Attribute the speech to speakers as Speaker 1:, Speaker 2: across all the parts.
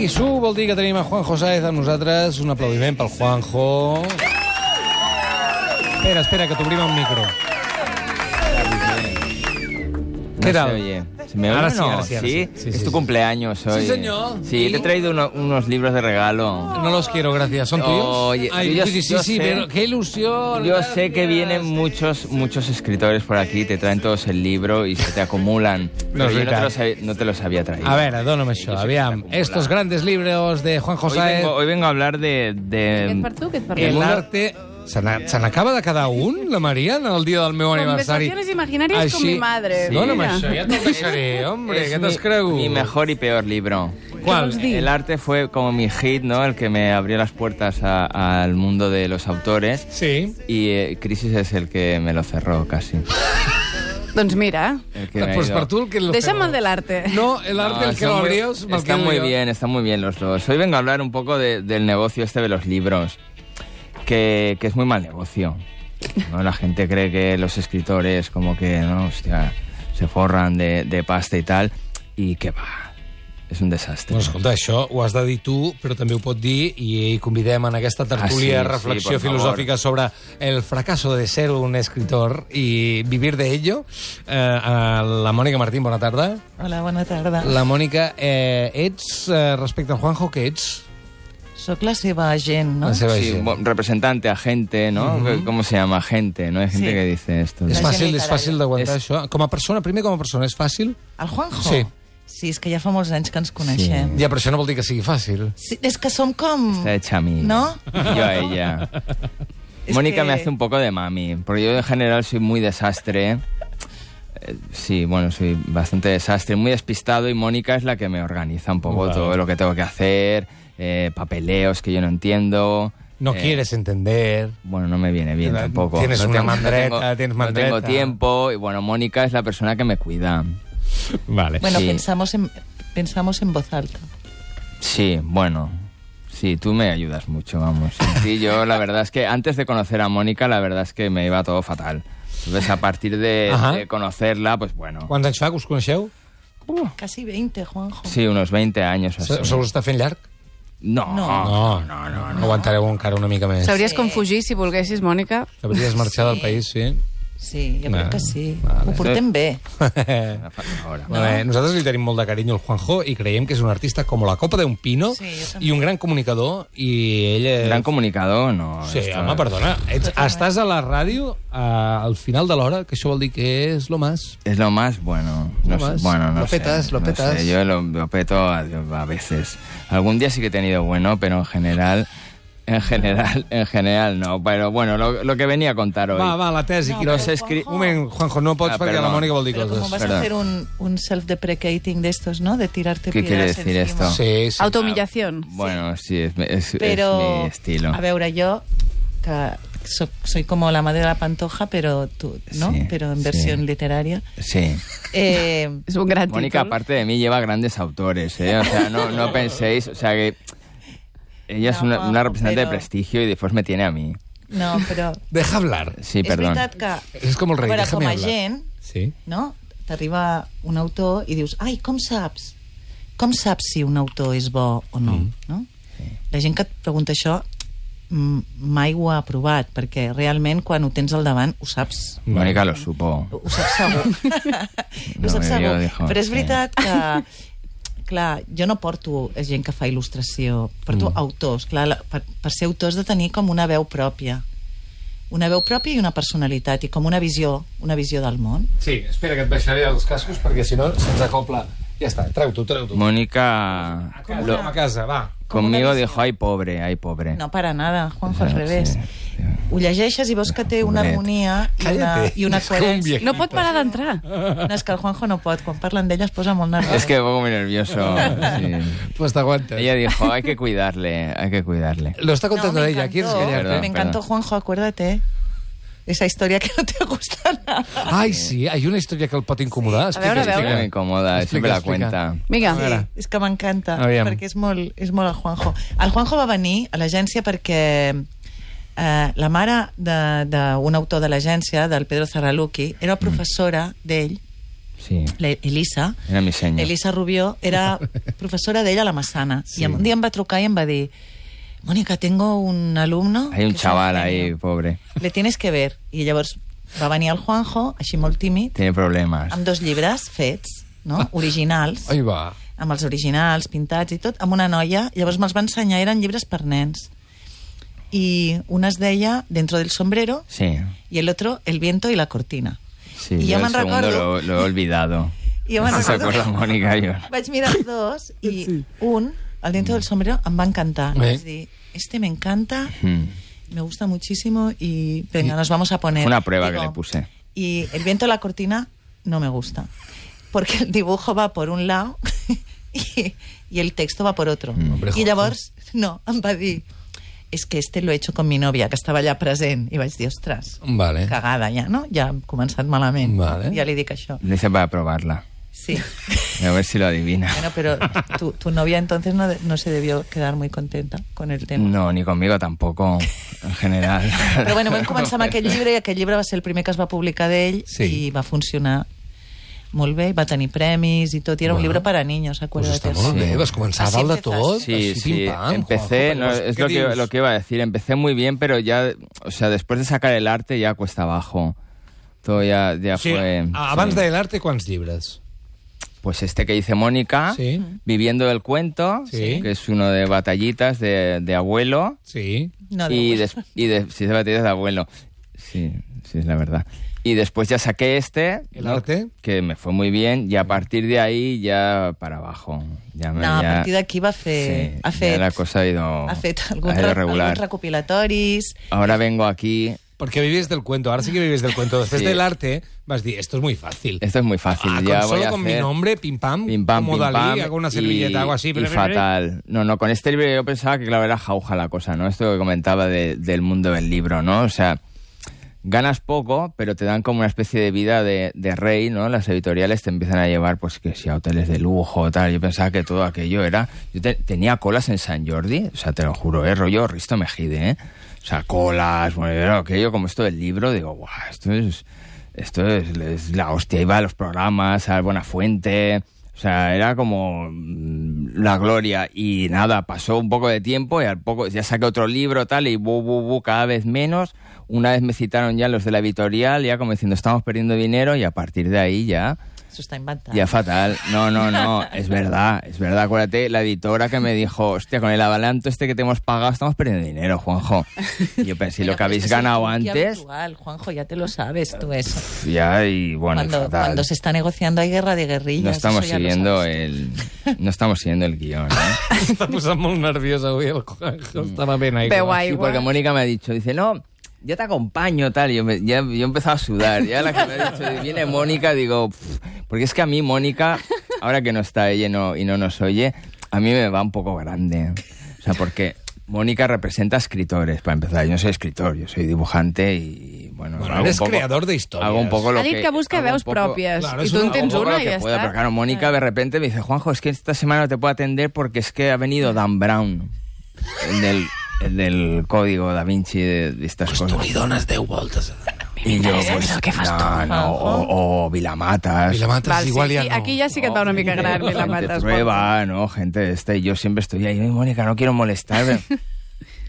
Speaker 1: Guissú vol dir que tenim a Juanjo Saez amb nosaltres. Un aplaudiment pel Juanjo. Espera, espera, que t'obrim el micro.
Speaker 2: No
Speaker 1: ¿Qué tal?
Speaker 2: Se oye. ¿Se me oye
Speaker 1: Ahora
Speaker 2: o
Speaker 1: sí,
Speaker 2: no?
Speaker 1: ahora sí, ahora sí. Sí,
Speaker 2: es
Speaker 1: sí,
Speaker 2: tu
Speaker 1: sí.
Speaker 2: cumpleaños hoy.
Speaker 1: señor.
Speaker 2: Sí,
Speaker 1: ¿Y?
Speaker 2: te he traído uno- unos libros de regalo.
Speaker 1: No los quiero, gracias. ¿Son tuyos?
Speaker 2: Oye,
Speaker 1: Ay,
Speaker 2: yo-
Speaker 1: sí, sí,
Speaker 2: yo
Speaker 1: sí,
Speaker 2: sé.
Speaker 1: pero qué ilusión.
Speaker 2: Yo sé que
Speaker 1: gracias.
Speaker 2: vienen muchos muchos escritores por aquí, te traen todos el libro y se te acumulan.
Speaker 1: No es
Speaker 2: Pero yo no te,
Speaker 1: veritat.
Speaker 2: los había, no te los había traído.
Speaker 1: A veure, dóna'm això, aviam. Estos grandes libros de Juanjo
Speaker 2: hoy
Speaker 1: Saez.
Speaker 2: vengo, hoy vengo a hablar de... de-
Speaker 3: Aquest per tu, aquest per
Speaker 1: El
Speaker 3: tu.
Speaker 1: arte... Se n'ha- se n'acaba de quedar un, la Maria, en el dia del meu aniversari.
Speaker 3: Conversaciones imaginarias con mi madre.
Speaker 2: Sí.
Speaker 1: Dóna'm
Speaker 3: Mira.
Speaker 1: això, ja te'l deixaré, hombre,
Speaker 2: es
Speaker 1: què
Speaker 2: mi-
Speaker 1: t'has cregut?
Speaker 2: Mi mejor y peor libro.
Speaker 1: ¿Cuál?
Speaker 3: Sí.
Speaker 2: El arte fue como mi hit, ¿no? El que me abrió las puertas a- al mundo de los autores.
Speaker 1: Sí.
Speaker 2: Y eh, Crisis es el que me lo cerró casi.
Speaker 3: Doncs mira,
Speaker 2: El que me ha
Speaker 1: Pues
Speaker 2: ido.
Speaker 1: per tu el que... lo
Speaker 3: deixa'm
Speaker 1: feo.
Speaker 3: el de l'arte.
Speaker 1: No, el arte el que lo
Speaker 2: están muy-
Speaker 1: abrió es más que
Speaker 2: Están muy
Speaker 1: yo.
Speaker 2: bien, están muy bien los dos. Hoy vengo a hablar un poco de- del negocio este de los libros, que, que es muy mal negocio. ¿no? La gente cree que los escritores como que, no, hostia, se forran de, de pasta y tal, y que va, es un desastre.
Speaker 1: Bueno, escolta, això ho has de dir tu, però també ho pot dir i convidem en aquesta tertúlia
Speaker 2: Ah, sí, sí,
Speaker 1: reflexió
Speaker 2: por favor.
Speaker 1: filosòfica sobre el fracaso de ser un escritor i vivir de ello. Eh, a la Mònica Martín, bona tarda.
Speaker 4: Hola, bona tarda. La...
Speaker 1: La Mònica, eh, ets, eh, respecte al Juanjo, que ets?
Speaker 4: Soc la seva agent, no?
Speaker 1: La seva
Speaker 2: Sí,
Speaker 1: gent.
Speaker 2: bueno, representante, agente, ¿no? ¿Cómo se llama? Agente, ¿no? Hay gente
Speaker 4: Sí.
Speaker 2: que dice esto.
Speaker 1: És
Speaker 4: La
Speaker 1: fàcil,
Speaker 4: gent
Speaker 1: és
Speaker 4: literal.
Speaker 1: fàcil d'aguantar
Speaker 2: És-
Speaker 1: això. Com a persona, primer com a persona, és fàcil?
Speaker 4: El Juanjo?
Speaker 1: Sí.
Speaker 4: Sí, és que ja fa molts anys que ens coneixem.
Speaker 1: Ja, però això no vol dir que sigui fàcil.
Speaker 4: Sí. és que som com...
Speaker 2: Está hecha a mí.
Speaker 4: ¿No?
Speaker 2: Yo a ella.
Speaker 4: Es
Speaker 2: Mónica
Speaker 4: que-
Speaker 2: me hace un poco de mami, porque yo en general soy muy desastre. Eh, Sí, bueno, soy bastante desastre, muy despistado y Mónica es la que me organiza un poco
Speaker 1: Vale.
Speaker 2: todo lo que tengo que hacer, eh, papeleos que yo no entiendo.
Speaker 1: No
Speaker 2: eh,
Speaker 1: quieres entender.
Speaker 2: Bueno, no me viene bien
Speaker 1: Tienes
Speaker 2: tampoco.
Speaker 1: una
Speaker 2: No tengo- no
Speaker 1: mandreta,
Speaker 2: tengo-
Speaker 1: tienes
Speaker 2: no
Speaker 1: mandreta.
Speaker 2: tengo tiempo y bueno, Mónica es la persona que me cuida.
Speaker 1: Vale.
Speaker 4: Bueno,
Speaker 2: Sí.
Speaker 4: pensamos, en, pensamos en voz alta.
Speaker 2: Sí, bueno. Sí, tú me ayudas mucho, vamos. Sin ti yo la verdad es que antes de conocer a Mónica, la verdad es que me iba todo fatal. Entonces, a partir de,
Speaker 1: Ajá.
Speaker 2: de conocerla, pues bueno.
Speaker 1: Quants anys fa que us coneixeu?
Speaker 4: Casi 20, Juanjo.
Speaker 2: Sí, unos 20 años o
Speaker 1: Se,
Speaker 2: así.
Speaker 1: se us està fent llarg?
Speaker 2: No,
Speaker 1: No, no, no. no. Aguantareu encara una mica més.
Speaker 3: Sabries com fugir, si volguessis, Mònica?
Speaker 1: Sabries marxar del país, sí?
Speaker 4: Sí, jo
Speaker 1: No.
Speaker 4: crec que sí. Ho portem bé.
Speaker 2: Ahora.
Speaker 1: Bé, nosaltres li tenim molt de carinyo al Juanjo i creiem que és un artista com la copa d'un pino
Speaker 4: Sí, jo també.
Speaker 1: i un gran comunicador i ell... És...
Speaker 2: ¿Gran comunicador? No.
Speaker 1: Eh, Sí,
Speaker 2: esto-
Speaker 1: home, perdona. Ets, estàs
Speaker 4: eh?
Speaker 1: a la ràdio a, al final de l'hora, que això vol dir que és lo más.
Speaker 2: Es lo más bueno. No
Speaker 1: Lo
Speaker 2: sé,
Speaker 1: más.
Speaker 2: bueno, no
Speaker 1: Lo
Speaker 2: sé,
Speaker 1: petas, lo
Speaker 2: no
Speaker 1: petas.
Speaker 2: sé, Yo lo, lo peto a, a veces. Algún día sí que he tenido bueno, pero en general, en general, en general no. Pero bueno, lo, lo que venía a contar hoy.
Speaker 1: Va, va, la tesi.
Speaker 4: No,
Speaker 1: No,
Speaker 2: però escri-
Speaker 1: Un moment, Juanjo, no pots
Speaker 2: Ah,
Speaker 1: perquè la
Speaker 2: perdó.
Speaker 1: Mònica vol dir
Speaker 4: Però com
Speaker 1: coses.
Speaker 4: vas
Speaker 2: Perdó.
Speaker 4: a fer un, un self-deprecating d'estos, no? De tirar-te
Speaker 2: ¿Qué quiere
Speaker 4: piedras
Speaker 2: decir
Speaker 4: encima.
Speaker 2: esto?
Speaker 1: Sí, sí.
Speaker 3: Autohumillación.
Speaker 2: Bueno, sí, es, mi- es- es
Speaker 4: Pero,
Speaker 2: mi estilo.
Speaker 4: a veure, jo que so, soy como la madre de la pantoja, pero tú, ¿no?
Speaker 2: Sí,
Speaker 4: pero en
Speaker 2: sí.
Speaker 4: versión literaria.
Speaker 2: Sí.
Speaker 4: Eh,
Speaker 3: És un gran títol.
Speaker 2: Mónica, aparte de mí, lleva grandes autores, ¿eh? O sea, no, no penséis, o sea que... Ella es
Speaker 4: No,
Speaker 2: una, una representante
Speaker 4: pero-
Speaker 2: de prestigio y después me tiene a mí.
Speaker 4: no, però...
Speaker 1: Deja hablar.
Speaker 2: Sí,
Speaker 4: és
Speaker 2: perdón.
Speaker 4: veritat que...
Speaker 1: És com el rei,
Speaker 4: a veure,
Speaker 1: déjame
Speaker 4: com a
Speaker 1: hablar.
Speaker 4: gent,
Speaker 1: Sí.
Speaker 4: no? T'arriba un autor i dius, ai, com saps? Com saps si un autor és bo o no?
Speaker 1: Mm.
Speaker 4: no? La gent que et pregunta això mm, mai ho ha provat, perquè realment quan ho tens al davant ho saps
Speaker 2: Mónica lo supo.
Speaker 4: Ho saps segur.
Speaker 2: No,
Speaker 4: ho saps
Speaker 2: jo
Speaker 4: segur.
Speaker 2: dijo,
Speaker 4: Però és
Speaker 2: sí.
Speaker 4: veritat que... Clar, jo no porto gent que fa il·lustració, porto
Speaker 2: Mm.
Speaker 4: autors. Clar, la, per, per ser autor has de tenir com una veu pròpia. Una veu pròpia i una personalitat, i com una visió, una visió del món.
Speaker 1: Sí, espera que et baixaré els cascos perquè si no se'ns acopla. Ja està, treu-t'ho, treu-t'ho.
Speaker 2: Mónica
Speaker 1: Com una... A casa, va.
Speaker 2: conmigo dijo, ay pobre, ay pobre.
Speaker 4: No, para nada, Juanjo, al
Speaker 2: Sí,
Speaker 4: revés.
Speaker 2: sí.
Speaker 4: Ho llegeixes i veus que té una
Speaker 2: Pobret.
Speaker 4: harmonia i una, i una coherència.
Speaker 3: No pot parar d'entrar.
Speaker 4: No, és que el Juanjo no pot, quan parlen d'ella es posa molt nerviós.
Speaker 2: Es que pongo muy nervioso. sí.
Speaker 1: Pues t'aguantes.
Speaker 2: Ella dijo, hay que cuidarle, hay que cuidarle.
Speaker 1: Lo está
Speaker 4: No,
Speaker 1: contando
Speaker 4: me
Speaker 1: ella, ¿quieres
Speaker 4: encantó.
Speaker 1: callarte?
Speaker 2: Perdón.
Speaker 4: Me encantó, Juanjo, acuérdate. ¿eh? Esa historia que no te gusta nada.
Speaker 1: Ay, sí, hay una historia que el pot incomodar.
Speaker 3: Sí. A veure, a
Speaker 2: Siempre
Speaker 3: veure.
Speaker 2: me incomoda,
Speaker 1: Explica,
Speaker 2: siempre la
Speaker 1: explica.
Speaker 2: cuenta.
Speaker 3: Vinga.
Speaker 1: A
Speaker 2: Ah.
Speaker 1: veure.
Speaker 4: És que m'encanta,
Speaker 1: Aviam.
Speaker 4: perquè és molt, és molt el Juanjo. El Juanjo va venir a l'agència perquè eh, la mare
Speaker 2: Mm.
Speaker 4: de- d'un autor de l'agència, del Pedro Zarraluki, era professora d'ell
Speaker 2: Sí,
Speaker 4: la Elisa,
Speaker 2: era mi seña.
Speaker 4: Elisa Rubió, era professora d'ella a la Massana. Sí. I un dia em va trucar i em va dir Mónica, tengo un alumno...
Speaker 2: Hay un
Speaker 4: que es un
Speaker 2: chaval ahí,
Speaker 4: genio.
Speaker 2: pobre.
Speaker 4: Le tienes que ver. I llavors va venir el Juanjo, així molt tímid,
Speaker 2: Tiene problemas.
Speaker 4: amb dos llibres fets, no? originals,
Speaker 1: Ah. Ai, va.
Speaker 4: amb els originals, pintats i tot, amb una noia. Llavors me'ls va ensenyar, eren llibres per nens. I un es deia Dentro del sombrero
Speaker 2: Sí,
Speaker 4: i el otro El viento y la cortina.
Speaker 2: sí.
Speaker 4: I
Speaker 2: yo
Speaker 4: ja
Speaker 2: el
Speaker 4: me'n
Speaker 2: segundo Lo,
Speaker 4: recordo.
Speaker 2: lo he olvidado.
Speaker 4: I jo me'n
Speaker 2: No se
Speaker 4: recordo.
Speaker 2: acuerda Mónica yo.
Speaker 4: Vaig mirar els dos i sí. un, el dentro del sombrero, em va encantar.
Speaker 1: Bé.
Speaker 4: Vaig dir, este me encanta,
Speaker 2: Mm.
Speaker 4: me gusta muchísimo y venga, nos vamos a poner.
Speaker 2: Fue una prueba que le puse.
Speaker 4: Y el viento de la cortina no me gusta, porque el dibujo va por un lado y, y el texto va por otro.
Speaker 2: Mm.
Speaker 1: Hombre,
Speaker 4: I
Speaker 1: Jorge.
Speaker 4: llavors, no, em va dir, és es que este lo he hecho con mi novia, que estava allà present. I vaig dir, ostres,
Speaker 2: Eh?
Speaker 1: Vale.
Speaker 4: cagada ja, no? Ja hem començat malament.
Speaker 1: Vale.
Speaker 4: Ja li dic això.
Speaker 2: Le hice para probarla.
Speaker 4: Sí.
Speaker 2: A ver si lo adivina.
Speaker 4: Bueno, pero tu, tu novia entonces no, de- no se debió quedar muy contenta con el tema.
Speaker 2: No, ni conmigo tampoco, en general.
Speaker 4: Però bueno, vam començar amb aquest llibre i aquest llibre va ser el primer que es va publicar d'ell
Speaker 1: Sí.
Speaker 4: i va funcionar molt bé, va tenir premis i tot, i era un
Speaker 1: Bueno.
Speaker 4: llibre per a niños,
Speaker 1: Pues
Speaker 4: acuérdate.
Speaker 1: està molt
Speaker 2: Sí.
Speaker 1: bé, vas començar a
Speaker 4: Así
Speaker 1: dalt de
Speaker 4: empezas.
Speaker 1: tot.
Speaker 2: Sí,
Speaker 1: així,
Speaker 2: sí,
Speaker 1: pim-pam,
Speaker 2: empecé,
Speaker 1: Juanjo,
Speaker 2: no,
Speaker 1: pues,
Speaker 2: es
Speaker 1: ¿qué
Speaker 2: lo que,
Speaker 1: dius?
Speaker 2: lo que iba a decir, empecé muy bien, pero ya, o sea, después de sacar el arte ya cuesta abajo. Todo ya, ya
Speaker 1: Sí,
Speaker 2: fue...
Speaker 1: abans
Speaker 2: sí.
Speaker 1: de l'arte, quants llibres?
Speaker 2: Pues este que dice Mónica,
Speaker 1: Sí.
Speaker 4: Mm.
Speaker 2: Viviendo el Cuento,
Speaker 1: Sí.
Speaker 2: que es uno de batallitas de, de abuelo.
Speaker 1: Sí.
Speaker 4: No, de
Speaker 2: y,
Speaker 4: gust.
Speaker 2: des- y de, sí, de batallitas de abuelo. Sí, sí, es la verdad. Y después ya saqué este,
Speaker 1: El arte.
Speaker 2: que me fue muy bien, y a partir de ahí ya para abajo. Ya me-
Speaker 4: No, a
Speaker 2: ya-
Speaker 4: partir d'aquí va fer...
Speaker 2: Sí,
Speaker 4: ha
Speaker 2: ya
Speaker 4: fet,
Speaker 2: la cosa ha ido,
Speaker 4: ha fet algun,
Speaker 2: ha ido
Speaker 4: re-
Speaker 2: regular.
Speaker 4: alguns recopilatoris...
Speaker 2: Ahora vengo aquí.
Speaker 1: Porque vives del cuento, ahora sí que vives del cuento. Después
Speaker 2: Sí.
Speaker 1: del arte, vas a decir, esto es muy fácil.
Speaker 2: Esto es muy fácil.
Speaker 1: Ah,
Speaker 2: ya
Speaker 1: con
Speaker 2: voy
Speaker 1: solo
Speaker 2: a
Speaker 1: con
Speaker 2: hacer
Speaker 1: mi nombre, pim pam,
Speaker 2: Pim pam,
Speaker 1: como
Speaker 2: pim
Speaker 1: Dalí,
Speaker 2: pam,
Speaker 1: hago una
Speaker 2: y-
Speaker 1: servilleta, hago así.
Speaker 2: y
Speaker 1: pero
Speaker 2: fatal. No, no, con este libro yo pensaba que, claro, era jauja la cosa, ¿no? Esto que comentaba de- del mundo del libro, ¿no? O sea, ganas poco, pero te dan como una especie de vida de, de rey, ¿no? Las editoriales te empiezan a llevar, pues, que si a hoteles de lujo, tal. Yo pensaba que todo aquello era... Yo te- tenía colas en San Jordi, o sea, te lo juro, ¿eh? Rollo Risto Mejide, ¿eh? O sea, colas, bueno, era aquello como esto del libro, digo, guau, esto es... Esto es, es la hostia, iba a los programas, a Buena Fuente, o sea, era como mm, la gloria y nada, pasó un poco de tiempo y al poco ya saqué otro libro tal y bu, bu, bu, cada vez menos. Una vez me citaron ya los de la editorial, ya como diciendo estamos perdiendo dinero y a partir de ahí ya...
Speaker 4: S'ho està inventant.
Speaker 2: Ya fatal. No, no, no. Es verdad, es verdad. Acuérdate, la editora que me dijo, hostia, con el avalanto este que te hemos pagado estamos perdiendo dinero, Juanjo. Y yo pensé,
Speaker 4: Bueno,
Speaker 2: lo que
Speaker 4: pero
Speaker 2: habéis
Speaker 4: esto es
Speaker 2: ganado
Speaker 4: muy
Speaker 2: antes,
Speaker 4: Habitual, Juanjo, ya te lo sabes tú eso.
Speaker 2: ya, y bueno,
Speaker 4: cuando,
Speaker 2: fatal.
Speaker 4: cuando se está negociando hay guerra de guerrillas.
Speaker 2: No estamos
Speaker 4: eso ya lo
Speaker 2: siguiendo
Speaker 4: sabes tú.
Speaker 2: el no estamos siguiendo el guión, ¿eh?
Speaker 1: Está posando muy nerviosa hoy el
Speaker 2: Mm.
Speaker 1: Juanjo, estaba bien ahí.
Speaker 3: Pero guay.
Speaker 2: Sí,
Speaker 3: igual.
Speaker 2: porque Mónica me ha dicho, dice, "No, yo te acompaño tal." Yo me- ya yo he empezado a sudar. Ya la que me ha dicho, "Viene Mónica", digo, "Pff", porque es que a mí Mónica, ahora que no está ella y no, y no nos oye, a mí me va un poco grande. O sea, porque Mónica representa escritores, para empezar. Yo no soy escritor, yo soy dibujante y bueno,
Speaker 1: Bueno,
Speaker 2: hago un
Speaker 1: eres
Speaker 2: poco-
Speaker 1: creador de historias.
Speaker 2: Hago un poco lo
Speaker 3: Ha dit que busca
Speaker 2: hago un
Speaker 3: veus
Speaker 2: poco-
Speaker 3: pròpies.
Speaker 1: Claro,
Speaker 3: I
Speaker 1: és
Speaker 3: tu en
Speaker 1: una-
Speaker 3: tens
Speaker 2: Tampoco
Speaker 3: una
Speaker 2: lo
Speaker 3: i
Speaker 2: que
Speaker 3: ja
Speaker 2: pueda, Pero
Speaker 3: està.
Speaker 2: claro, Mónica de repente me dice, Juanjo, es que esta semana no te puedo atender porque es que ha venido Dan Brown, el del, el del código da Vinci de, de
Speaker 3: Pues
Speaker 2: estas cosas.
Speaker 1: dones 10 voltes.
Speaker 2: Y yo,
Speaker 3: interesa
Speaker 2: pues,
Speaker 3: lo que fas
Speaker 2: no, no, o, o Vilamatas.
Speaker 1: I la mates
Speaker 3: Val, sí,
Speaker 1: igual ja
Speaker 3: aquí,
Speaker 1: no.
Speaker 3: aquí ja sí que et va una mica
Speaker 2: Gente-
Speaker 3: gran, la
Speaker 2: gente
Speaker 3: mates.
Speaker 2: prueba, ¿no? Gente de esta. Y yo siempre estoy ahí, "Ay, Mónica, no quiero molestar. pero-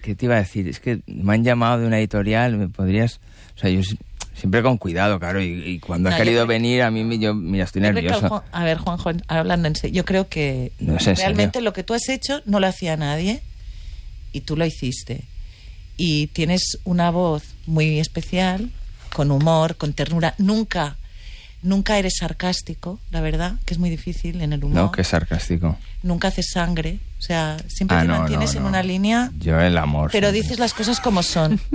Speaker 2: ¿Qué te iba a decir? Es que me han llamado de una editorial, ¿me podrías...? O sea, yo si- siempre con cuidado, claro. Y, y cuando
Speaker 4: No,
Speaker 2: ha
Speaker 4: yo
Speaker 2: querido
Speaker 4: creo-
Speaker 2: venir, a mí, me- yo, mira, estoy
Speaker 4: Yo creo que el
Speaker 2: nervioso.
Speaker 4: Juan- a ver, Juanjo, hablando en serio, yo creo que
Speaker 2: No es en serio.
Speaker 4: realmente lo que tú has hecho no lo hacía nadie y tú lo hiciste. Y tienes una voz muy especial, con humor, con ternura. Nunca, nunca eres sarcástico, la verdad, que es muy difícil en el humor.
Speaker 2: No, qué sarcástico.
Speaker 4: Nunca haces sangre. O sea, siempre
Speaker 2: Ah,
Speaker 4: te
Speaker 2: no,
Speaker 4: mantienes
Speaker 2: no,
Speaker 4: en
Speaker 2: no.
Speaker 4: una línea,
Speaker 2: Yo el amor.
Speaker 4: pero
Speaker 2: siempre.
Speaker 4: dices las cosas como son.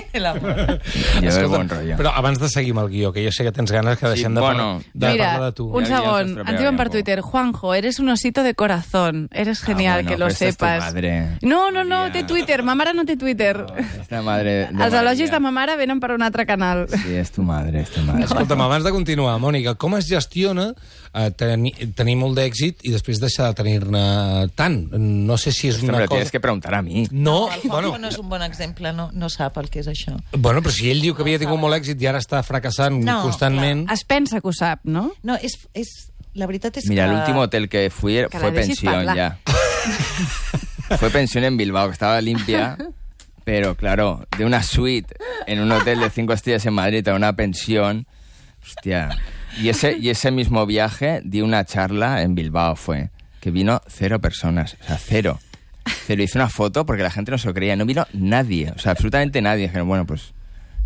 Speaker 4: el amor.
Speaker 2: Yo el
Speaker 1: Escolta,
Speaker 2: buen rollo.
Speaker 1: Però abans de seguir amb el guió, que jo sé que tens ganes que
Speaker 2: Sí,
Speaker 1: deixem de,
Speaker 2: bueno.
Speaker 1: par- de
Speaker 3: Mira,
Speaker 1: parlar de tu.
Speaker 3: un
Speaker 2: Ja, ja
Speaker 3: segon,
Speaker 2: s'estropea ja
Speaker 3: ens diuen per
Speaker 2: un poco.
Speaker 3: Twitter, Juanjo, eres un osito de corazón, eres genial,
Speaker 2: bueno,
Speaker 3: que lo
Speaker 2: però este és tu
Speaker 3: sepas.
Speaker 2: madre.
Speaker 3: No, no, no,
Speaker 2: Ja.
Speaker 3: té Twitter, ma mare no té Twitter.
Speaker 2: Esta madre. de
Speaker 3: Els
Speaker 2: María.
Speaker 3: elogis de ma mare venen per un altre canal.
Speaker 2: Eh, Sí, es tu madre, es tu madre.
Speaker 1: eh? Escolta'm, abans de continuar, Mònica, com es gestiona eh, tenir, tenir molt d'èxit i després deixar de tenir-ne tant? no sé si és
Speaker 2: Esto me
Speaker 1: una
Speaker 2: lo
Speaker 1: cosa...
Speaker 2: tienes que preguntar a mí.
Speaker 1: No,
Speaker 4: El Juanjo
Speaker 1: bueno,
Speaker 4: no és un bon exemple, no, no sap el que és això.
Speaker 1: bueno, però si ell diu que havia tingut molt èxit i ara està fracassant
Speaker 4: No,
Speaker 1: constantment...
Speaker 3: Es pensa que ho sap, no?
Speaker 4: No, és, és, la veritat és
Speaker 2: Mira,
Speaker 4: que...
Speaker 2: el último hotel que fui era-
Speaker 3: Que la
Speaker 2: fue
Speaker 3: dejes
Speaker 2: pensión
Speaker 3: hablar.
Speaker 2: ya. fue pensión en Bilbao, que estaba limpia. Pero claro, de una suite en un hotel de cinco estrellas en Madrid a una pensión. Hostia. Y ese, y ese mismo viaje di una charla en Bilbao, fue. Que vino cero personas. O sea, cero. Cero. Hice una foto porque la gente no se lo creía. No vino nadie. O sea, absolutamente nadie. Dijeron, bueno, pues.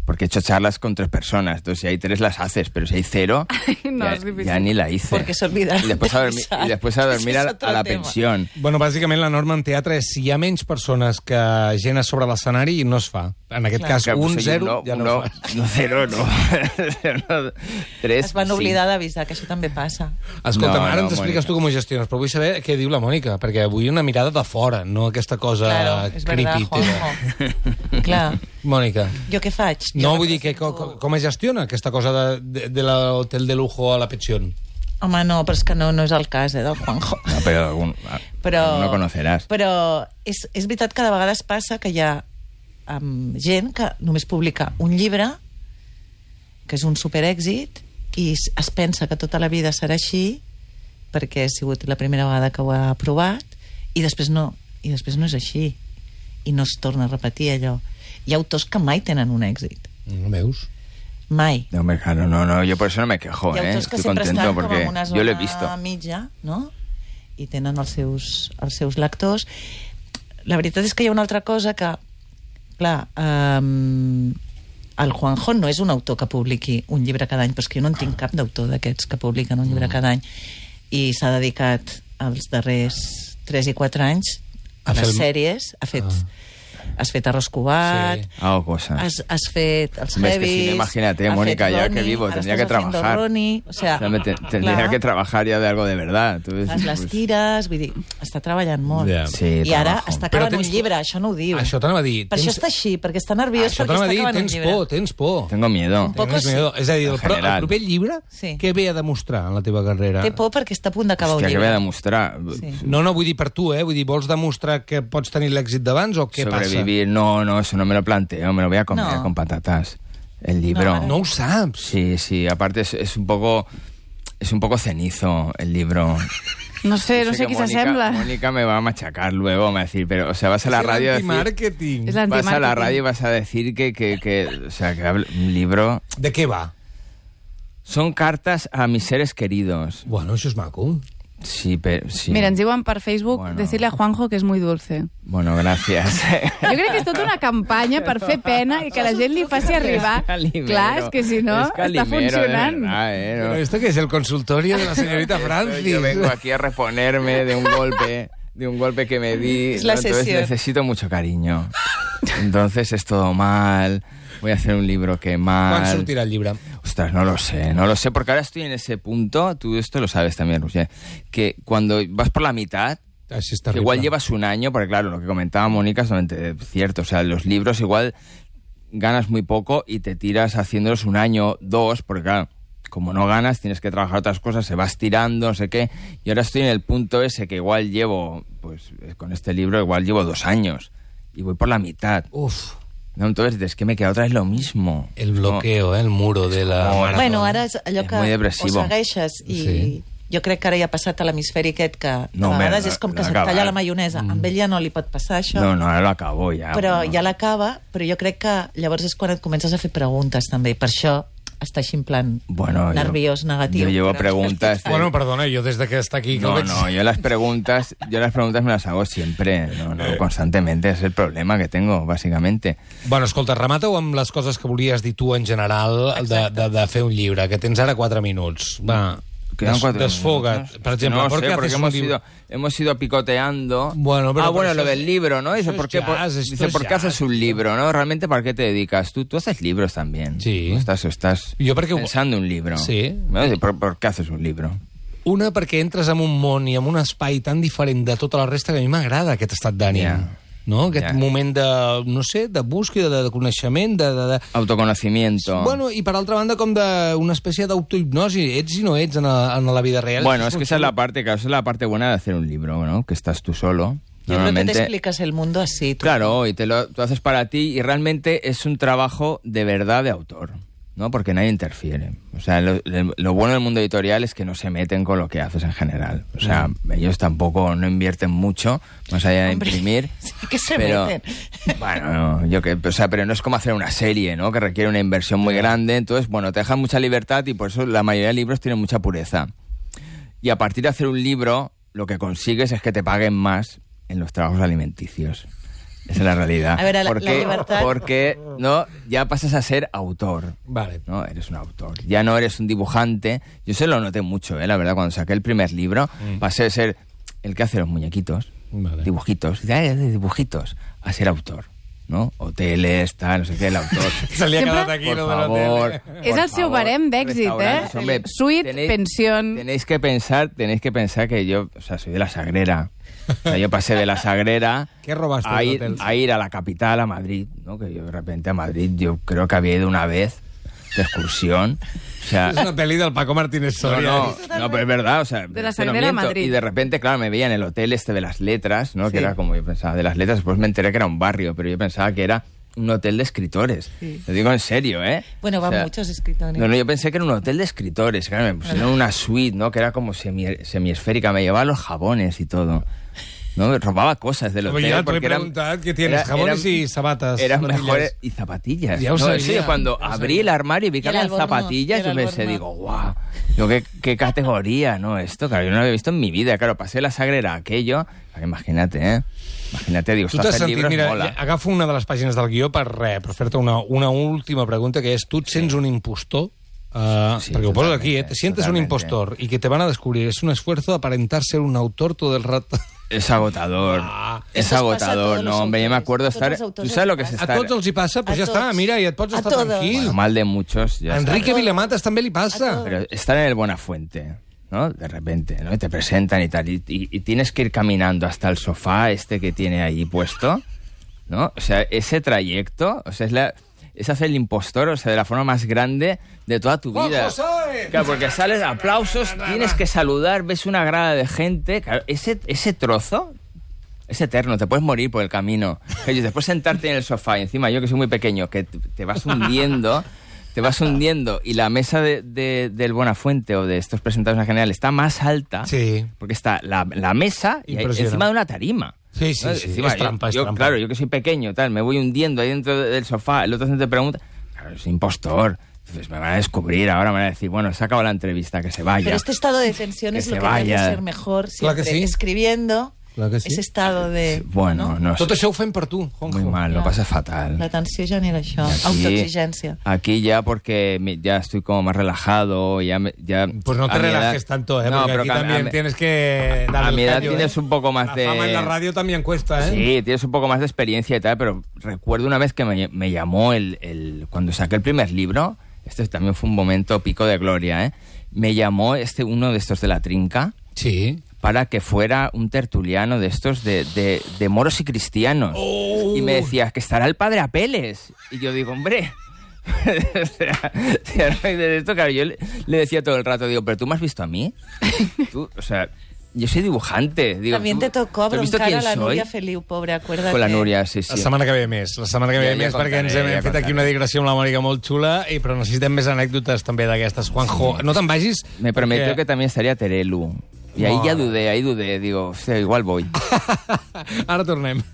Speaker 2: Porque he hecho charlas con tres personas. Entonces, si hay tres, las haces. Pero si hay cero,
Speaker 3: No,
Speaker 2: ya,
Speaker 3: es difícil.
Speaker 2: ya ni la hice.
Speaker 4: Porque se olvidaron
Speaker 2: Y después a
Speaker 4: de
Speaker 2: dormir,
Speaker 4: avisar.
Speaker 2: y después a, dormir
Speaker 4: Ese
Speaker 2: a,
Speaker 4: es
Speaker 2: la-
Speaker 4: otro
Speaker 2: a la
Speaker 4: tema.
Speaker 2: pensión.
Speaker 1: Bueno, bàsicament la norma en teatre és si hi ha menys persones que gent a sobre l'escenari no es fa. En aquest cas,
Speaker 2: Claro, pues,
Speaker 1: un,
Speaker 2: oye,
Speaker 1: zero,
Speaker 2: no,
Speaker 1: ja no,
Speaker 2: no,
Speaker 1: es fa.
Speaker 2: no, cero, no. Cero, Tres,
Speaker 4: Es van
Speaker 2: sí.
Speaker 4: oblidar d'avisar, que això també passa.
Speaker 1: Escolta'm,
Speaker 2: No,
Speaker 1: ara
Speaker 2: no,
Speaker 1: ens expliques
Speaker 2: Mònica.
Speaker 1: tu com ho gestiones, però vull saber què diu la Mònica, perquè vull una mirada de fora, no aquesta cosa
Speaker 4: Claro, és verdad,
Speaker 1: creepy teva.
Speaker 4: Juanjo. Clar,
Speaker 1: Mònica,
Speaker 4: jo què faig?
Speaker 1: no
Speaker 4: Jo
Speaker 1: vull dir que co- co- com es gestiona aquesta cosa de, de, de l'hotel de lujo a la pensión.
Speaker 4: Home, no, però és que no, no és el cas, eh, del Juanjo.
Speaker 2: No, pero algún-
Speaker 4: però,
Speaker 2: no conocerás.
Speaker 4: Però és, és veritat que de vegades passa que hi ha um, gent que només publica un llibre, que és un superèxit, i s- es pensa que tota la vida serà així, perquè ha sigut la primera vegada que ho ha provat, i després no, i després no és així. I no es torna a repetir allò. Hi ha autors que mai tenen un èxit.
Speaker 1: No veus?
Speaker 4: Mai.
Speaker 2: No, hombre, claro, no, no, yo por eso no me quejo,
Speaker 4: Hi ha
Speaker 2: ¿eh?
Speaker 4: autors que
Speaker 2: Estoy
Speaker 4: sempre
Speaker 2: contento
Speaker 4: estan com
Speaker 2: porque
Speaker 4: en una zona
Speaker 2: yo lo he visto.
Speaker 4: mitja, no? I tenen els seus, els seus lectors. La veritat és que hi ha una altra cosa que, clar, um, el Juanjo no és un autor que publiqui un llibre cada any, però és que jo no en tinc cap d'autor d'aquests que publiquen un llibre cada any. I s'ha dedicat els darrers 3 i 4 anys
Speaker 1: A
Speaker 4: a,
Speaker 1: fer
Speaker 4: les
Speaker 1: el-
Speaker 4: sèries. Ha fet, ah. Has fet Arroz Cubat,
Speaker 1: Sí.
Speaker 4: sí.
Speaker 2: Hago cosas.
Speaker 4: Has, has fet els
Speaker 2: Hombre,
Speaker 4: heavies...
Speaker 2: es Ah. que si no, imagínate,
Speaker 4: has
Speaker 2: Mónica,
Speaker 4: fet
Speaker 2: ya que
Speaker 4: Ronnie,
Speaker 2: vivo,
Speaker 4: ara
Speaker 2: tendría que
Speaker 4: estàs haciendo
Speaker 2: trabajar.
Speaker 4: Ronnie, o sea,
Speaker 2: O sea, me te- tendría
Speaker 4: clar,
Speaker 2: que trabajar ya de algo de verdad. Entonces,
Speaker 4: Fas les
Speaker 2: pues,
Speaker 4: tires, vull dir, està treballant molt.
Speaker 1: Ja.
Speaker 2: Sí,
Speaker 4: I ara
Speaker 2: trabajo.
Speaker 1: Però
Speaker 4: està acabant
Speaker 1: tens-
Speaker 4: un llibre, això no ho diu.
Speaker 1: Això t'anava a dir.
Speaker 4: Per això està així, perquè està nerviós
Speaker 1: Això
Speaker 4: perquè
Speaker 1: t'anava
Speaker 4: està
Speaker 1: a dir,
Speaker 4: acabant
Speaker 1: tens
Speaker 4: un llibre.
Speaker 1: por, tens por.
Speaker 2: Tengo miedo.
Speaker 4: poco
Speaker 1: Tens
Speaker 4: sí.
Speaker 1: miedo. És a dir, el,
Speaker 2: En
Speaker 1: pro, el
Speaker 2: general.
Speaker 1: proper llibre,
Speaker 4: Sí.
Speaker 1: què ve a demostrar en la teva carrera?
Speaker 4: Té por perquè està a punt d'acabar un
Speaker 2: Hostia, que voy
Speaker 4: llibre.
Speaker 2: a demostrar. Pues,
Speaker 4: Sí.
Speaker 1: No, no, vull dir per tu, eh? Vull dir, vols demostrar que pots tenir l'èxit d'abans o què
Speaker 2: Sobrevivir, no, no, eso no me lo planteo, me lo voy a comer
Speaker 4: No.
Speaker 2: con patatas. El libro.
Speaker 1: passa? No ho saps.
Speaker 2: Sí, sí, aparte es, es un poco es un poco cenizo el libro.
Speaker 3: No sé,
Speaker 2: Yo
Speaker 3: no sé
Speaker 2: que
Speaker 3: qui
Speaker 2: Mónica-
Speaker 3: s'assembla.
Speaker 2: Mónica me va a machacar luego, me va a decir, pero, o sea, vas a la radio a
Speaker 1: de...
Speaker 2: decir,
Speaker 1: Marketing.
Speaker 3: És la-
Speaker 2: vas a la
Speaker 3: Antimarketing.
Speaker 2: radio y vas a decir que, que, que o sea, que hablo- un libro
Speaker 1: De què va?
Speaker 2: son cartas a mis seres queridos.
Speaker 1: Bueno, això és maco.
Speaker 2: Sí, pero sí.
Speaker 3: Mira, ens diuen per Facebook,
Speaker 2: Bueno.
Speaker 3: decirle a Juanjo que és muy dulce.
Speaker 2: Bueno, gracias.
Speaker 3: Jo crec que és tota una campanya per fer pena i que la gent li faci arribar.
Speaker 2: Calimero.
Speaker 3: Clar, és que si no,
Speaker 2: Es
Speaker 3: està
Speaker 2: calimero, de
Speaker 3: funcionant.
Speaker 2: verdad, ¿eh? No,
Speaker 1: Però esto que es el consultorio de la señorita Francis.
Speaker 2: Yo vengo aquí a reponerme de un golpe, de un golpe que me di.
Speaker 4: Es la
Speaker 2: ¿no? Entonces
Speaker 4: sesión.
Speaker 2: necesito mucho cariño. Entonces es todo mal. Voy a hacer un libro que
Speaker 1: Quan
Speaker 2: mal.
Speaker 1: sortirà el llibre?
Speaker 2: Ostras, no lo sé, no lo sé, porque ahora estoy en ese punto, tú esto lo sabes también, Roger, que cuando vas por la mitad,
Speaker 1: Així és
Speaker 2: que
Speaker 1: terrible.
Speaker 2: igual llevas un año, porque claro, lo que comentaba Mónica es totalmente cierto, o sea, los libros igual ganas muy poco y te tiras haciéndolos un año, dos, porque claro, como no ganas, tienes que trabajar otras cosas, se vas tirando, no sé qué, y ahora estoy en el punto ese que igual llevo, pues eh, con este libro igual llevo dos años y voy por la mitad.
Speaker 1: Uf,
Speaker 2: ¿no? Entonces, es que me queda otra vez lo mismo.
Speaker 1: el
Speaker 2: No.
Speaker 1: bloqueo, eh, el muro de la...
Speaker 2: com-
Speaker 1: marató.
Speaker 4: Bueno, ara és allò
Speaker 2: És
Speaker 4: que
Speaker 2: muy depressivo.
Speaker 4: ho segueixes i
Speaker 1: Sí.
Speaker 4: jo crec que ara ja ha passat a l'hemisferi aquest que
Speaker 2: No,
Speaker 4: de vegades
Speaker 2: mira,
Speaker 4: és com que
Speaker 2: l'ha
Speaker 4: se't talla
Speaker 2: acabat.
Speaker 4: la maionesa. Amb ell ja no li pot passar això.
Speaker 2: eh? Mm. No, no, ahora lo acabo ya.
Speaker 4: però
Speaker 2: Ah, bueno.
Speaker 4: ja l'acaba, però jo crec que llavors és quan et comences a fer preguntes també, per això està així en plan
Speaker 2: Bueno, yo-
Speaker 4: nerviós, negatiu.
Speaker 2: yo llevo
Speaker 4: Però-
Speaker 2: preguntas de-
Speaker 1: Bueno, perdona, jo des de que està aquí... que ho
Speaker 2: No,
Speaker 1: veig-
Speaker 2: no, yo las preguntas, yo las preguntas me las hago siempre, no, no, constantemente, es el problema que tengo, básicamente.
Speaker 1: Bueno, escolta, remata-ho amb les coses que volies dir tu en general de, de, de fer un llibre, que tens ara 4 minuts. Va,
Speaker 2: Quedan
Speaker 1: des,
Speaker 2: cuatro
Speaker 1: desfoga't.
Speaker 2: minutos.
Speaker 1: Per exemple,
Speaker 2: no
Speaker 1: ¿por qué
Speaker 2: sé, porque
Speaker 1: haces
Speaker 2: hemos
Speaker 1: un libro?
Speaker 2: ido, hemos ido picoteando.
Speaker 1: Bueno, pero-
Speaker 2: ah,
Speaker 1: pero
Speaker 2: bueno,
Speaker 1: eso
Speaker 2: lo
Speaker 1: es-
Speaker 2: del libro, ¿no?
Speaker 1: eso
Speaker 2: Dice,
Speaker 1: es
Speaker 2: ¿por qué, por-
Speaker 1: jazz, esto
Speaker 2: dice,
Speaker 1: es
Speaker 2: ¿por qué
Speaker 1: jazz".
Speaker 2: haces un libro, no? ¿Realmente para qué te dedicas? Tú, tú haces libros también.
Speaker 1: Sí.
Speaker 2: Tú estás, estás
Speaker 1: Yo porque-
Speaker 2: pensando un libro.
Speaker 1: Sí.
Speaker 2: ¿No? Dice, ¿Por, por qué haces un libro?
Speaker 1: Una, perquè entres en un món i en un espai tan diferent de tota la resta que a mi m'agrada aquest estat d'ànim.
Speaker 2: Ja.
Speaker 1: Yeah. no? Aquest
Speaker 2: Ja.
Speaker 1: moment de, no sé, de búsqueda, de, de coneixement, de... de, de...
Speaker 2: Autoconocimiento.
Speaker 1: Bueno, i per altra banda, com d'una espècie d'autohipnosi. Ets i no ets en, la- en la vida real.
Speaker 2: Bueno, es que esa es la parte, claro, esa es la parte buena de hacer un libro, ¿no? Que estás tú solo.
Speaker 4: Yo creo que te
Speaker 2: Normalmente-
Speaker 4: explicas el mundo así. tú.
Speaker 2: Claro, y te lo tú haces para ti y realmente es un trabajo de verdad de autor, ¿no? Porque nadie interfiere. O sea, lo, lo bueno del mundo editorial es que no se meten con lo que haces en general. O sea, ellos tampoco no invierten mucho, más allá de
Speaker 4: Hombre,
Speaker 2: imprimir.
Speaker 4: sí que se
Speaker 2: pero,
Speaker 4: meten.
Speaker 2: Bueno, no, yo que, o sea, pero no es como hacer una serie, ¿no? Que requiere una inversión muy grande. Entonces, bueno, te dejan mucha libertad y por eso la mayoría de libros tienen mucha pureza. Y a partir de hacer un libro, lo que consigues es que te paguen más en los trabajos alimenticios. Esa es la realidad.
Speaker 4: A ver, la- la
Speaker 2: porque,
Speaker 4: libertad-
Speaker 2: Porque no, ya pasas a ser autor.
Speaker 1: Vale.
Speaker 2: ¿no? Eres un autor. Ya no eres un dibujante. Yo se lo noté mucho, ¿eh? la verdad, cuando saqué el primer libro, pasé de ser el que hace los muñequitos,
Speaker 1: Vale.
Speaker 2: dibujitos, dice, "Ay, haces dibujitos, a ser autor. ¿no? Hoteles, tal, no sé qué, el autor.
Speaker 1: Se li ha
Speaker 3: Sempre-
Speaker 1: quedat aquí,
Speaker 2: Por
Speaker 1: lo de la
Speaker 2: favor,
Speaker 1: tele.
Speaker 2: por
Speaker 3: És el seu
Speaker 2: favor.
Speaker 3: barem d'èxit,
Speaker 2: Restaurantes,
Speaker 3: eh?
Speaker 2: hombre,
Speaker 3: Suite, pensión.
Speaker 2: Tenéis que pensar, tenéis que pensar que yo, o sea, soy de la Sagrera. O sea, yo pasé de la Sagrera
Speaker 1: ¿Qué robaste
Speaker 2: a,
Speaker 1: del
Speaker 2: ir,
Speaker 1: hotel?
Speaker 2: a ir a la capital, a Madrid, ¿no? Que yo de repente a Madrid, yo creo que había ido una vez de excursión. O sea,
Speaker 1: És una pel·li del Paco Martínez
Speaker 2: no,
Speaker 1: Soria.
Speaker 2: no, no, pero es verdad, o sea,
Speaker 3: De la
Speaker 2: te lo
Speaker 3: Sagrera a
Speaker 2: miento.
Speaker 3: Madrid.
Speaker 2: Y de repente, claro, me veía en el hotel este de las letras, ¿no? Que
Speaker 3: Sí.
Speaker 2: era como yo pensaba, de las letras, después me enteré que era un barrio, pero yo pensaba que era un hotel de escritores. Lo digo en serio, ¿eh?
Speaker 4: Bueno, van muchos escritores.
Speaker 2: No, no, yo pensé que era un hotel de escritores, claro, me pusieron una suite, ¿no? Que era como semi, semiesférica, me llevaba los jabones y todo. No, me robaba cosas del
Speaker 1: Pero
Speaker 2: hotel.
Speaker 1: ya te lo he
Speaker 2: porque eran-
Speaker 1: preguntado, ¿qué tienes? Jabones y zapatas,
Speaker 2: Eran
Speaker 1: zapatillas.
Speaker 2: mejores. Y zapatillas.
Speaker 1: Ya os
Speaker 2: No, en
Speaker 1: sabía,
Speaker 2: serio, cuando
Speaker 1: ya os
Speaker 2: abrí
Speaker 1: sabía.
Speaker 2: el armario y vi
Speaker 4: Y
Speaker 2: que
Speaker 4: el
Speaker 2: había
Speaker 4: albornoz,
Speaker 2: zapatillas,
Speaker 4: el
Speaker 2: yo pensé,
Speaker 4: albornoz.
Speaker 2: digo, guau, yo qué, qué categoría, ¿no? Esto, claro, yo no lo había visto en mi vida. Claro, pasé la sagrera a aquello. Claro, Imagínate, ¿eh? Imagínate, digo,
Speaker 1: Tu
Speaker 2: esto
Speaker 1: t'has
Speaker 2: hacer
Speaker 1: sentit,
Speaker 2: libros
Speaker 1: mira,
Speaker 2: mola.
Speaker 1: ja- agafo una de les pàgines del guió per, eh, per fer-te una, una última pregunta, que és, tu et sents un impostor? Uh,
Speaker 2: Sí,
Speaker 1: perquè ho poso aquí, eh?
Speaker 2: totalmente,
Speaker 1: Te sientes un
Speaker 2: totalmente.
Speaker 1: impostor y que te van a descubrir. Es un esfuerzo aparentar ser un autor todo el rato.
Speaker 2: Es agotador.
Speaker 1: Ah.
Speaker 2: es
Speaker 4: Eso os pasa a
Speaker 2: agotador,
Speaker 4: todos los
Speaker 2: no, hombre. Yo me
Speaker 4: autores,
Speaker 2: acuerdo
Speaker 4: a todos
Speaker 2: estar.
Speaker 4: los
Speaker 2: Tú
Speaker 4: autores
Speaker 2: sabes lo que
Speaker 4: les
Speaker 2: es
Speaker 4: pasa.
Speaker 1: A
Speaker 2: estar.
Speaker 1: tots els hi passa,
Speaker 4: A
Speaker 1: doncs ja està,
Speaker 4: tots.
Speaker 1: mira, i et pots
Speaker 4: A
Speaker 1: estar
Speaker 4: todos.
Speaker 1: tranquil.
Speaker 2: Bueno, mal de muchos. Ya sabes.
Speaker 1: Enrique Vilamatas també li passa.
Speaker 2: Pero estar en el Buenafuente, ¿no? De repente, ¿no? Y te presentan y tal. Y, y- y tienes que ir caminando hasta el sofá este que tiene ahí puesto, ¿no? O sea, ese trayecto, o sea, es la. Es hacer el impostor, o sea, de la forma más grande de toda tu
Speaker 1: ¡Juan
Speaker 2: vida.
Speaker 1: José!
Speaker 2: Claro, porque sales, aplausos, tienes que saludar, ves una grada de gente. Claro, ese, ese trozo es eterno, te puedes morir por el camino. Oye, después sentarte en el sofá y encima yo que soy muy pequeño, que t- te vas hundiendo, te vas hundiendo y la mesa de, de- del Buenafuente o de estos presentados en general está más alta.
Speaker 1: Sí.
Speaker 2: Porque está la, la mesa y hay-
Speaker 1: Impresionante.
Speaker 2: encima de una tarima.
Speaker 1: Sí, sí, sí,
Speaker 2: Encima
Speaker 1: es
Speaker 2: yo-
Speaker 1: trampa, es
Speaker 2: yo,
Speaker 1: trampa.
Speaker 2: Claro, yo que soy pequeño, tal, me voy hundiendo ahí dentro de- del sofá, el otro te pregunta, claro, es impostor. Entonces me van a descubrir, ahora me van a decir, bueno, se ha acabado la entrevista, que se vaya.
Speaker 4: Pero este estado de tensión
Speaker 2: Que
Speaker 4: es
Speaker 2: se
Speaker 4: lo que
Speaker 2: vaya.
Speaker 4: debe ser mejor
Speaker 1: Claro
Speaker 4: siempre.
Speaker 1: que sí.
Speaker 4: Escribiendo,
Speaker 1: Claro que sí.
Speaker 4: ese estado de...
Speaker 2: Bueno, no,
Speaker 1: Tot
Speaker 2: sé,
Speaker 1: això ho fem per tu, Juanjo.
Speaker 2: muy mal, lo pasa fatal.
Speaker 4: La tensió genera això, autoexigència.
Speaker 2: Aquí ya porque me- ya estoy como más relajado, ya... me- ya
Speaker 1: Pues no te
Speaker 2: a mi edad-
Speaker 1: relajes tanto, ¿eh?
Speaker 2: No,
Speaker 1: Porque
Speaker 2: pero
Speaker 1: aquí
Speaker 2: que a-
Speaker 1: también
Speaker 2: a-
Speaker 1: tienes que dar
Speaker 2: a
Speaker 1: el
Speaker 2: mi edad
Speaker 1: callo, ¿eh?
Speaker 2: tienes un poco más
Speaker 1: La
Speaker 2: de-
Speaker 1: fama en la radio también cuesta, ¿eh?
Speaker 2: Sí, tienes un poco más de experiencia y tal, pero recuerdo una vez que me, me llamó el, el- cuando saqué el primer libro, este también fue un momento pico de gloria, ¿eh? Me llamó este uno de estos de la trinca
Speaker 1: Sí.
Speaker 2: para que fuera un tertuliano de estos de, de- de moros y cristianos. Y me decía, que estará el padre Apeles. Y yo digo, hombre. o sea, si ahora me dices esto, claro, yo le, le decía todo el rato, digo, pero tú me has visto a mí. Tú, o sea, yo soy dibujante. Digo,
Speaker 4: También
Speaker 2: "¿Tú-
Speaker 4: te tocó
Speaker 2: tú has visto
Speaker 4: broncar a
Speaker 2: quién
Speaker 4: la
Speaker 2: soy?".
Speaker 4: Núria Feliu, pobre, acuérdate.
Speaker 2: Con la Núria, sí,
Speaker 1: La
Speaker 2: sí.
Speaker 1: setmana que ve més, la setmana que ve
Speaker 2: Ja- ja
Speaker 1: més, perquè ens hem,
Speaker 2: contaré, ja
Speaker 1: hem fet aquí
Speaker 2: contaré.
Speaker 1: una digressió amb la Mònica molt xula, i, però necessitem més anècdotes també d'aquestes. Juanjo, no te'n vagis.
Speaker 2: Me prometió que
Speaker 1: perquè-
Speaker 2: también estaría Terelu. Y ahí ya
Speaker 1: Madre.
Speaker 2: dudé, ahí dudé. Digo, "Hostia, igual voy.
Speaker 1: Ara tornem.